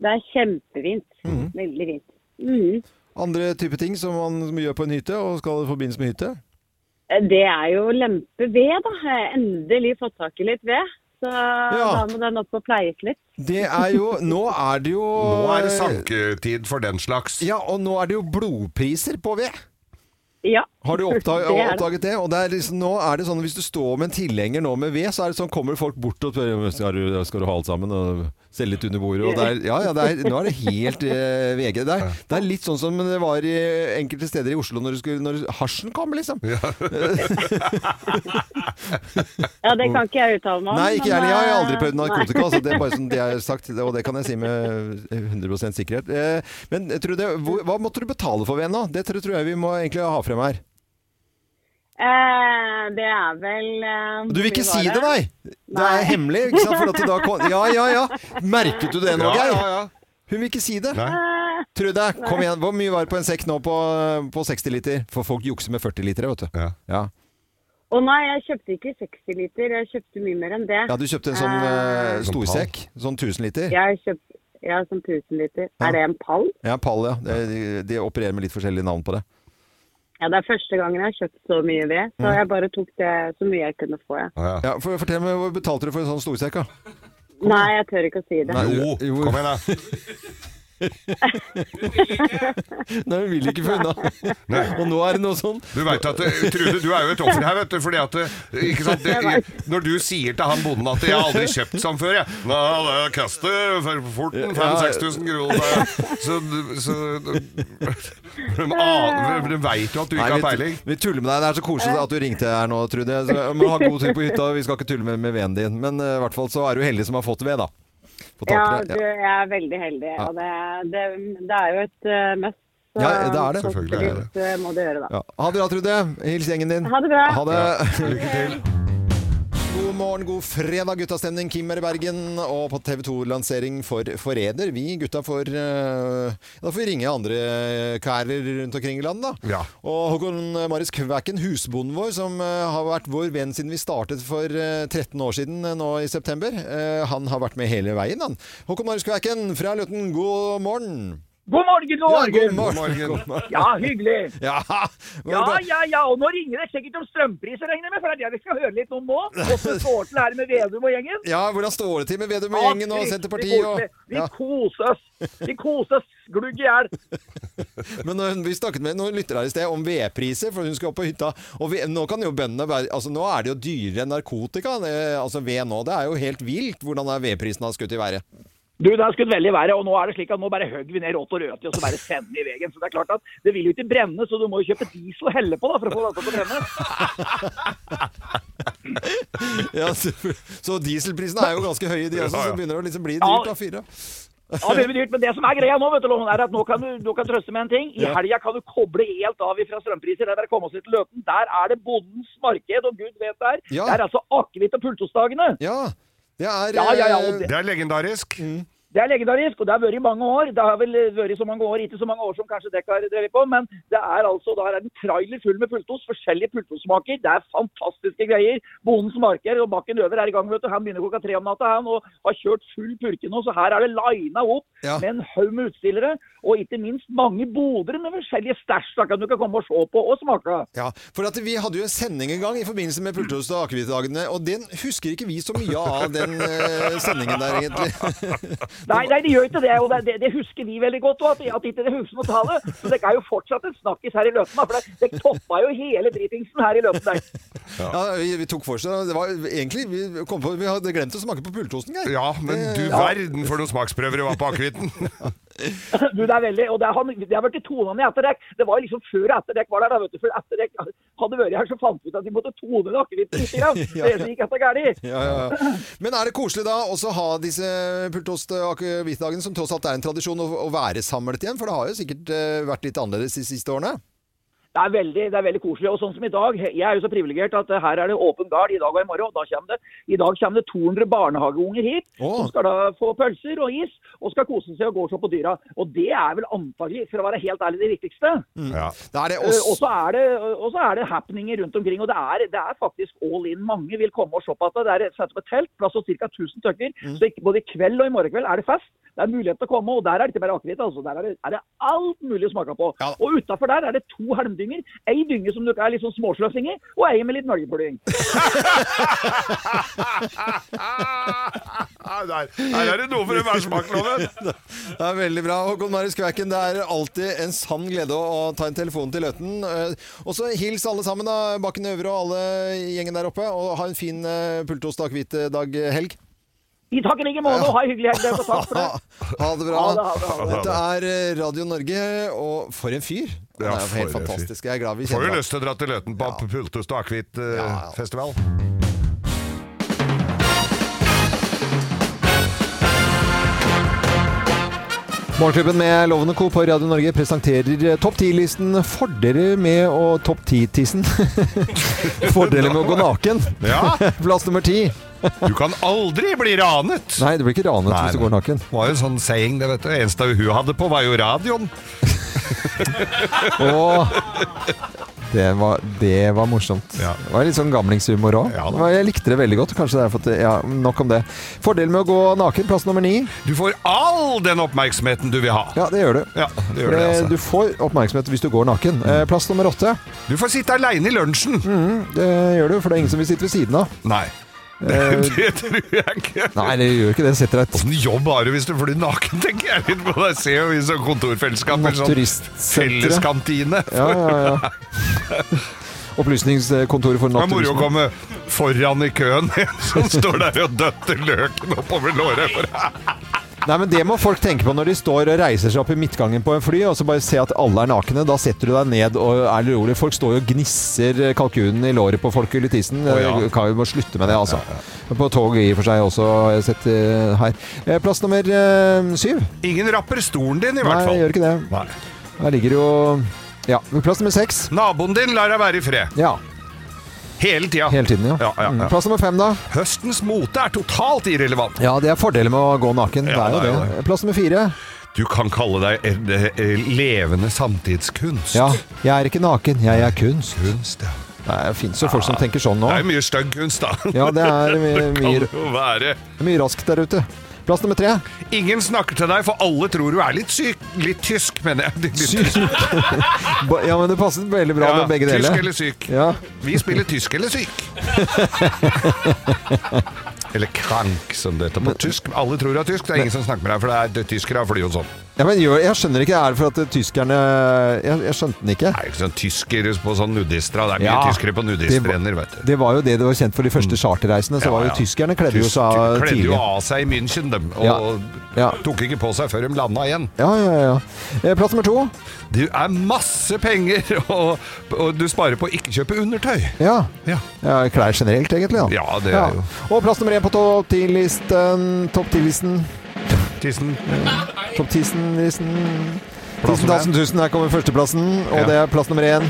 Det er kjempefint. Mhm. Veldig fint. Mhm. Andre typer ting som man gjør på en hytte, og skal i forbindelse med hytte? Eh, Det er jo lempe ved, da. Jeg har endelig fått tak i litt ved. Så da må den opp og pleies litt. Det er jo Nå er det jo Nå er det sanketid for den slags. Ja, og nå er det jo blodpriser på ved. Ja. Har du oppdag Det er det. oppdaget det? Og det er liksom, nå er det sånn, Hvis du står med en tilhenger nå med ved, så er det sånn, kommer folk bort og spør skal du, skal du ha alt sammen og selge litt under bordet. Og det er, ja, ja, det er, nå er det helt eh, VG. Det er, det er litt sånn som det var i enkelte steder i Oslo når, du skulle, når hasjen kom, liksom. Ja, det kan ikke jeg uttale meg om. Nei, ikke men, jeg. Jeg har eh, aldri prøvd narkotika. nei. Altså, det er bare som det er sagt, og det kan jeg si med 100 sikkerhet. Eh, Men Trude, hvor- hva måtte du betale for ved nå? Det tror tror jeg vi må egentlig ha frem her. Eh, det er vel eh, Du vil ikke hvor var si det, nei? Det er hemmelig, ikke sant? For at det da kom... Ja, ja, ja. Merket du det nå, Ja, Geir? ja, ja. Hun vil ikke si det. Nei. Trude, kom igjen. Hvor mye var det på en sekk nå på, på 60 liter? For folk jukser med 40 liter, vet du. Ja. Ja. Å nei, jeg kjøpte ikke 60 liter, jeg kjøpte mye mer enn det. du kjøpte en sånn eh, storsekk. Sånn 1000 liter. Jeg kjøpte ja, sånn 1000 liter. Er det en pall? Ja, pall, ja. De, de opererer med litt forskjellige navn på det. Ja, det er første gangen jeg har kjøpt så mye ved, så Mm. jeg bare tok det så mye jeg kunne få. Jeg. Ja, for, Fortell meg, hvor betalte du for en sånn storsekk? da? Nei, jeg tør ikke å si det. Nei, du- jo. Kom igjen, da. Nei, hun vil ikke få unna. Og nå er det noe sånn. Du vet at, eh, Trude, du er jo et offer her, vet du. Fordi at, eh, ikke sant, det, når du sier til han bonden at 'jeg har aldri kjøpt sånn før', jeg. Nei, det koster for fort en 5000-6000 kroner. Så, så ah, de, aner- de veit jo at du ikke Nei, har vi- peiling. Vi tuller med deg. Det er så koselig at du ringte her nå, Trude. Så, jeg må ha god tur på hytta. Vi skal ikke tulle med, med veden din. Men eh, i hvert fall så er du heldig som har fått ved, da. Fått tak i Ja, det, du, jeg er veldig heldig, Ja. og det, det, det er jo et eh, must Så Ja, det er det. Selvfølgelig er det absolutt eh, må det gjøre det. Ja. Ha det bra, Trude. Hils gjengen din. Ha det bra. Ha det. Ja, lykke til. God morgen, god fredag, guttastemning. Kim er i Bergen, og på TV 2-lansering for Forræder. Vi gutta får eh, Da får vi ringe andre kærer rundt omkring i landet, da. Og Håkon Marius Kvæken, husbonden vår, som eh, har vært vår venn siden vi startet for eh, 13 år siden eh, nå i september, eh, han har vært med hele veien, han. Håkon Marius Kvæken fra Løten, god morgen. God morgen, god Ja, morgen. god morgen. God morgen. Ja, hyggelig. Ja, Ja, ja, ja. Og nå ringer det sikkert om strømpriser, regner jeg med, for det er det vi skal høre litt om nå. Hvordan står det til her med Vedum og gjengen? Ja, hvordan står det til med Vedum og gjengen og Ja, Senterpartiet? fryktelig Og, koselig. Vi koser oss. Vi koser oss glugg i hjel. Men når hun- vi snakket med noen lyttere her i sted om vedpriser, for hun skal opp på hytta. Og ved- nå kan jo bøndene være Altså, nå er det jo dyrere enn narkotika. Det, altså ved nå. Det er jo helt vilt hvordan er vedprisen har skutt i været. Du, det har skutt veldig været, og nå er det slik at nå bare høgg vi ned rått og rødt i, og så bare sender vi i veien. Så det er klart at det vil jo ikke brenne, så du må jo kjøpe diesel og helle på da, for å få dette til å brenne. Ja, så, så dieselprisene er jo ganske høye, de også. Så begynner det å liksom bli Ja. dyrt av fyre. Ja, det blir dyrt, men det som er greia nå, vet du, Loven, er at nå kan du, du kan trøste med en ting. I Ja. helga kan du koble helt av fra strømpriser. Det er bare å komme oss litt til Løten. Der er det bondens marked, og gud vet der. Ja. Det er altså akevitt og pultostdagene. Ja, det Mm. er eh, ja, ja, og det, Det er legendarisk. det er legendarisk, og det har vært i mange år. Det har vel vært i så mange år, ikke så mange år som kanskje dere har drevet på, men det er altså, da er det en trailer full med pultost, forskjellige pultostsmaker. Det er fantastiske greier. Bondens marker og bakken over er i gang, vet du. Han begynner klokka tre om natta, han, og har kjørt full purke nå, så her er det lina opp Ja. med en haug med utstillere, og ikke minst mange boder med forskjellige stæsj, da kan du kan komme og se på og smake. Ja, for at Vi hadde jo en sending en gang i forbindelse med Pultost- og akevittdagene, og den husker ikke vi så mye av, den eh, sendingen der, egentlig. Nei, nei, det gjør ikke det. og det, det, det husker vi veldig godt òg, at, at ikke det husker noe tale. Så dere er jo fortsatt en snakkis her i Løten. da, For det- dere toppa jo hele dritingsen her i Løten. der. Ja, vi, vi tok for seg Det var egentlig Vi, kom på, vi hadde glemt å smake på pultosten, Geir. Ja, men du verden for noen smaksprøver det var på akevitten! Du, det er veldig, og det har, det har vært i tonene etter dere. Det var jo liksom før etter dere var der. da, vet du, for etter dere hadde vært her, så fant vi ut at vi måtte tone det akevitten litt. grann. Det er det som gikk etter gærent. Ja, ja, ja. Men er det koselig da også å ha disse pultost- og akevittdagene, som tross alt er en tradisjon, å, å være samlet igjen? For det har jo sikkert eh, vært litt annerledes de siste årene. Det er, veldig, det er veldig koselig. Og sånn som i dag, jeg er jo så privilegert at eh, her er det åpen gard i dag og i morgen. og da kommer det, I dag kommer det 200 barnehageunger hit som skal da få pølser og is og skal kose seg og gå og se på dyra. Og det er vel antagelig, for å være helt ærlig, det viktigste. Det Mm. er det Eh, Og også. så er, det- og så er det happeninger rundt omkring. Og det er, det er faktisk all in. Mange vil komme og se på det. Det er satt opp et telt, plass til ca. 1000 stykker. Mm. Så ikke, både i kveld og i morgen kveld er det fest. Det er mulighet til å komme, og der er det ikke bare akevitt. Altså. Der er det, er det alt mulig å smake på. Og utafor der er det to helmdynger. Ei dynge som du er litt sånn småsløsing i, og ei med litt møljepudding. Ah, der, her er det noe for enhver smak, Loven! Det er veldig bra. Håkon Marius Kvæken, det er alltid en sann glede å ta en telefon til Løten. Eh, Og så hils alle sammen, da, Bakken Øvre og alle i gjengen der oppe. Og ha en fin eh, pultost- og akevittdag-helg. I takk i like måte, og ha en hyggelig helg. dere, og Takk for det. Ha det bra. Ha det, ha det, ha det. Dette er eh, Radio Norge, og for en fyr! Han Ja, er jo for en helt fyr. fantastisk. Jeg er glad vi Får jo kjenner ham. lyst til å dra til Løten på Pultost og akevittfestival. Morgenklubben med Lovende Co. på Radio Norge presenterer eh, Topp 10-listen Fordeler med å Topp 10-tissen. Fordeler med å gå naken. Ja. Plass nummer ti. Du kan aldri bli ranet! Nei, du blir ikke ranet Nei, hvis du går naken. Det var jo en sånn saying, det vet du. Eneste hun hadde på, var jo radioen. Det var, det var morsomt. Det var litt sånn gamlingshumor òg. jeg likte det veldig godt. Kanskje det er for at Ja, nok om det. Fordelen med å gå naken. Plass nummer ni. Du får all den oppmerksomheten du vil ha. Ja, det gjør du. Ja, det gjør det, Eh, altså. Mm. Du får oppmerksomhet hvis du går naken. Eh, Plass nummer åtte. Mm, Du får sitte aleine i lunsjen. det gjør du, for det er ingen som vil sitte ved siden av. Nei. Eh, det tror jeg ikke. Nei, det gjør ikke det. Setter deg Åssen jobb har du hvis du flyr naken, tenker jeg litt på deg. Ser jo i sånn kontorfellesskap eller sånn Naturistsenteret. felleskantine. Ja, ja, ja. Opplysningskontoret for Det er moro å naturisme. komme foran i køen, som står der og døtter løken oppover låret. Nei, men Det må folk tenke på når de står og reiser seg opp i midtgangen på en fly, og så bare se at alle er nakne. Da setter du deg ned og er litt rolig. Folk står jo og gnisser eh, kalkunen i låret på folk eller tissen. Å, ja. Eh, Kan jo bare slutte med det, altså. På tog i og for seg også, har jeg sett eh, her. Eh, Plass nummer eh, syv. Ingen rapper stolen din, i Nei, hvert fall. jeg gjør ikke det. Der ligger jo Ja, plass nummer seks. Naboen din lar deg være i fred. Ja. Hele tida. Hele tiden, ja. ja, ja, Mm, Plass nummer fem, da? Høstens mote er totalt irrelevant. Ja, det er fordelen med å gå naken. Ja, det er jo det. Plass nummer fire. Du kan kalle deg en, eh, levende samtidskunst. Ja. Jeg er ikke naken, jeg er kunst. Kunst, ja. Nei, det fins jo folk som tenker sånn nå. Det er mye stygg kunst, da. Ja, det er mye- Det mye- kan jo være. Det er mye raskt der ute. Plass nummer tre. Ingen snakker til deg, for alle tror du er litt syk. Litt tysk, mener jeg. Litt, Ba- Ja, men det passet veldig bra med begge deler. Tysk eller syk. Ja. Vi spiller tysk eller syk. Eller krank, som det heter på tysk. Alle tror det er tysk, det er ingen som snakker med deg, for det er det- tyskere flyr jo sånn. Ja, men gjør, jeg skjønner ikke. Er det for at eh, tyskerne Jeg, jeg skjønte den ikke. Det er jo ikke sånn tyskere på sånn nudistra. Det er mye Ja. tyskere på nudistrenner, vet du. Mm. Det var jo det det var kjent for de første charterreisene. Så Ja, var jo ja. tyskerne kledde jo Tysk- seg av Kledde jo tidlig. av seg i München, dem, og tok ikke på seg før de landa igjen. Ja, ja, ja. Eh, Plass nummer to. Du er masse penger, og, og du sparer på å ikke kjøpe undertøy. Ja. Ja, Klær generelt, egentlig. Da. Ja, det er jo Og plass nummer én på topp ti-listen Topp ti-listen Tissen. Topp ti-listen Plass Tusen, nummer tusen, tusen. Her kommer førsteplassen, og Ja. det er plass nummer én.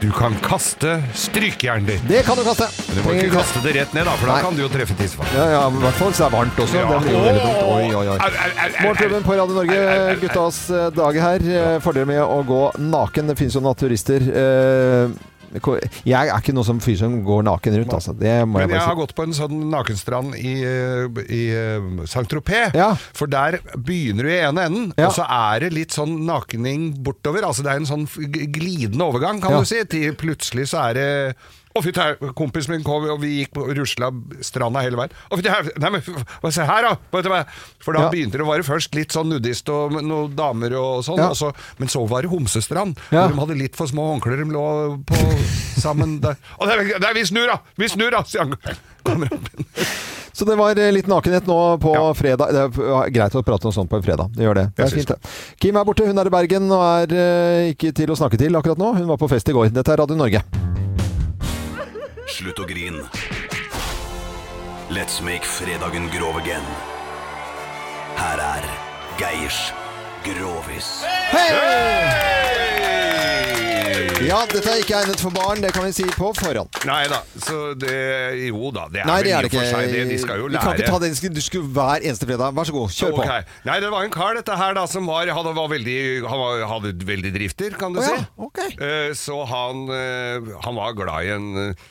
Du kan kaste strykejernet ditt. Det kan du kaste. Men du må Trenger ikke kaste det rett ned, da, for da Nei. kan du jo treffe tissefaren. Ja, ja, men i hvert fall så er det varmt også. Ja. Det blir jo veldig dumt. Oi, oi, oi. Au, au, au, au, Morgenklubben på Radio Norge, guttas eh, dag her. Eh, Fordel med å gå naken. Det finnes jo naturister. Eh, ko- Jeg er ikke noe som fyr som går naken rundt, altså. Det må jeg Men jeg bare har si. gått på en sånn nakenstrand i, eh, i eh, Saint-Tropez. For der begynner du i ene enden, og så er det litt sånn nakening bortover. Altså det er en sånn f- g- glidende overgang, kan Ja. du si. Til plutselig så er det å, fy tau, kompisen min kom, og vi gikk på rusla stranda hele veien. Å, fy tau, nei, men f- hva- se her, da! Vet du hva? For da Ja. begynte det å være først litt sånn nudist og noen damer og sånn, Ja. og så, men så var det homsestrand. Ja. Og de hadde litt for små håndklær, de lå på sammen der. Å, det er, det er, vi snur, da! Vi snur, da! sier han. Så det var eh, litt nakenhet nå på fredag. Det er ja, greit å prate om sånt på en fredag. Det gjør det. Det Jeg er fint, det. Kim er borte. Hun er i Bergen og er eh, ikke til å snakke til akkurat nå. Hun var på fest i går. Dette er Radio Norge. Slutt å grin. Let's make fredagen grov again. Her er Geirs Grovis. Ja, dette er ikke egnet for barn, det kan vi si på forhånd. Nei da, så det Jo da, det er Nei, det er vel det i og for seg det. ikke. De skal jo Vi kan lære. ikke ta det du skulle hver eneste fredag. Vær så god, kjør på. Ok. Nei, det var en kar dette her da som var, hadde, var veldig, han var, hadde veldig drifter, kan du Å ja, si. Eh, så han, eh, han var glad i en eh,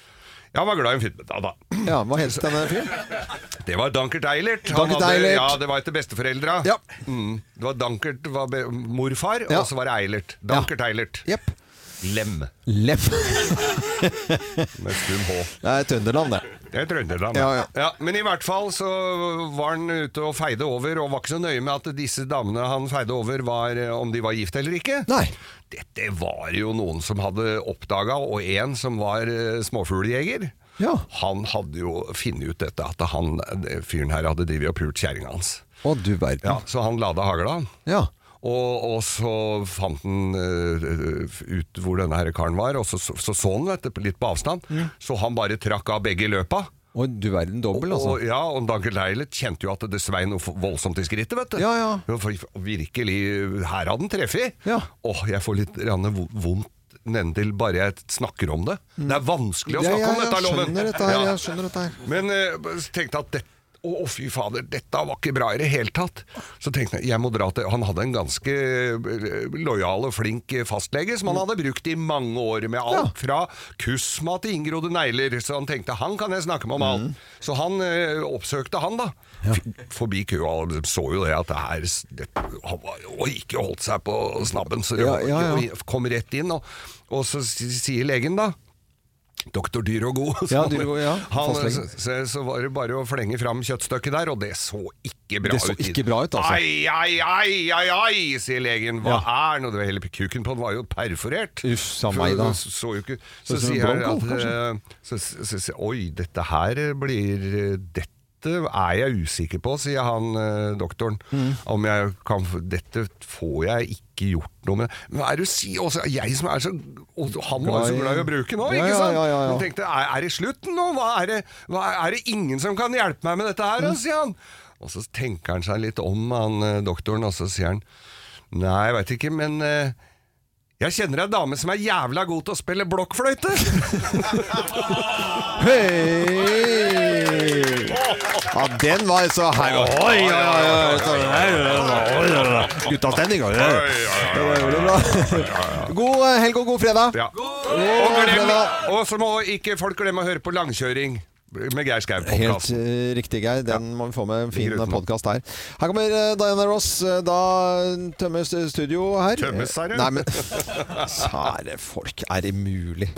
ja, han var glad i en fyr. Da, da. Ja, Hva het denne fyren? Det var Dankert Eilert. Han Dankert hadde- Eilert. Ja, det var etter besteforeldra. Mm. Det var Dankert var be morfar, Ja. og så var det Eilert. Dankert Eilert. Lem. Leff. Med stum H. Det er Trønderland, det. Det er Trøndelag. Ja, da. ja. Ja, men i hvert fall så var han ute og feide over, og var ikke så nøye med at disse damene han feide over, var eh, om de var gift eller ikke. Nei. Dette var jo noen som hadde oppdaga, og en som var eh, småfugljeger. Han hadde jo funnet ut dette, at han, eh, fyren her hadde drevet og pult kjerringa hans. Å, du verden. Ja, så han lada hagla. Ja. Og, og så fant han eh, ut hvor denne her karen var, og så så, så, så han dette litt på avstand. Så han bare trakk av begge i løpa. Å, du verden dobbel, altså. Og, ja, og Danke Leilert kjente jo at det svei noe voldsomt i skrittet, vet du. Det var for- Virkelig, her hadde han treffet. Ja. Åh, jeg får litt grann vo- vondt nedentil bare jeg snakker om det. Det er vanskelig å Ja, snakke ja, om dette, jeg loven. skjønner dette her, Ja. jeg skjønner dette her. Men eh, så tenkte jeg at det, å, å, fy fader, dette var ikke bra i det hele tatt. Så tenkte jeg jeg må dra til Han hadde en ganske eh, lojal og flink eh, fastlege som han hadde brukt i mange år, med alt fra kusma til inngrodde negler. Så han tenkte han kan jeg snakke med om alt. Mm. Så han eh, oppsøkte han, da. F- Forbi køa og så jo det at det her s- det, Han var, og ikke holdt seg på snabben, så det Ja, var- ja, ja. og kom rett inn. Og, og så s- sier legen, da Doktor Dyr og God. Ja, Dyr og God, ja. Han, så, Fastlegen. så, så var det bare å flenge fram kjøttstykket der, og det så ikke bra Det så ut. ikke bra ut, altså. Ai, ai, ai, ai, ai, sier legen. Hva er nå? Det var Hele kuken på den var jo perforert. Uff, sa meg da. Så, så, jo ikke. Så ut så, som en sier han blomkål, at eh, så, så, så, så, Oi, dette her blir eh, Dette er jeg usikker på, sier han eh, doktoren. Mm. Om jeg kan f- Dette får jeg ikke gjort noe med. Men hva er det å si? Også, jeg som er så og Han var jo så glad i å bruke nå, Ja, ikke ja, sant? ja, ja, ja. Men tenkte, er, er det slutten nå? Hva er, det, hva er- er det ingen som kan hjelpe meg med dette her, Mm. da, sier han. Og så tenker han seg litt om, han eh, doktoren, og så sier han Nei, jeg veit ikke, men eh, Jeg kjenner ei dame som er jævla god til å spille blokkfløyte! Hei! Ja, den var så her. Oi, oi, oi, oi, så her, oi, oi, oi. Guttastemning. oi, oi. Det var veldig bra. God eh, helg og god fredag. Og, glem, og så må ikke folk glemme å høre på langkjøring med Geir Skau-podkast. Helt eh, riktig, Geir. Den må vi få med. En fin podkast her. Her kommer eh, Diana Ross. Eh, Da tømmes eh, studio her. Tømmes her, ja. ja. Nei, men Sære folk, er det mulig?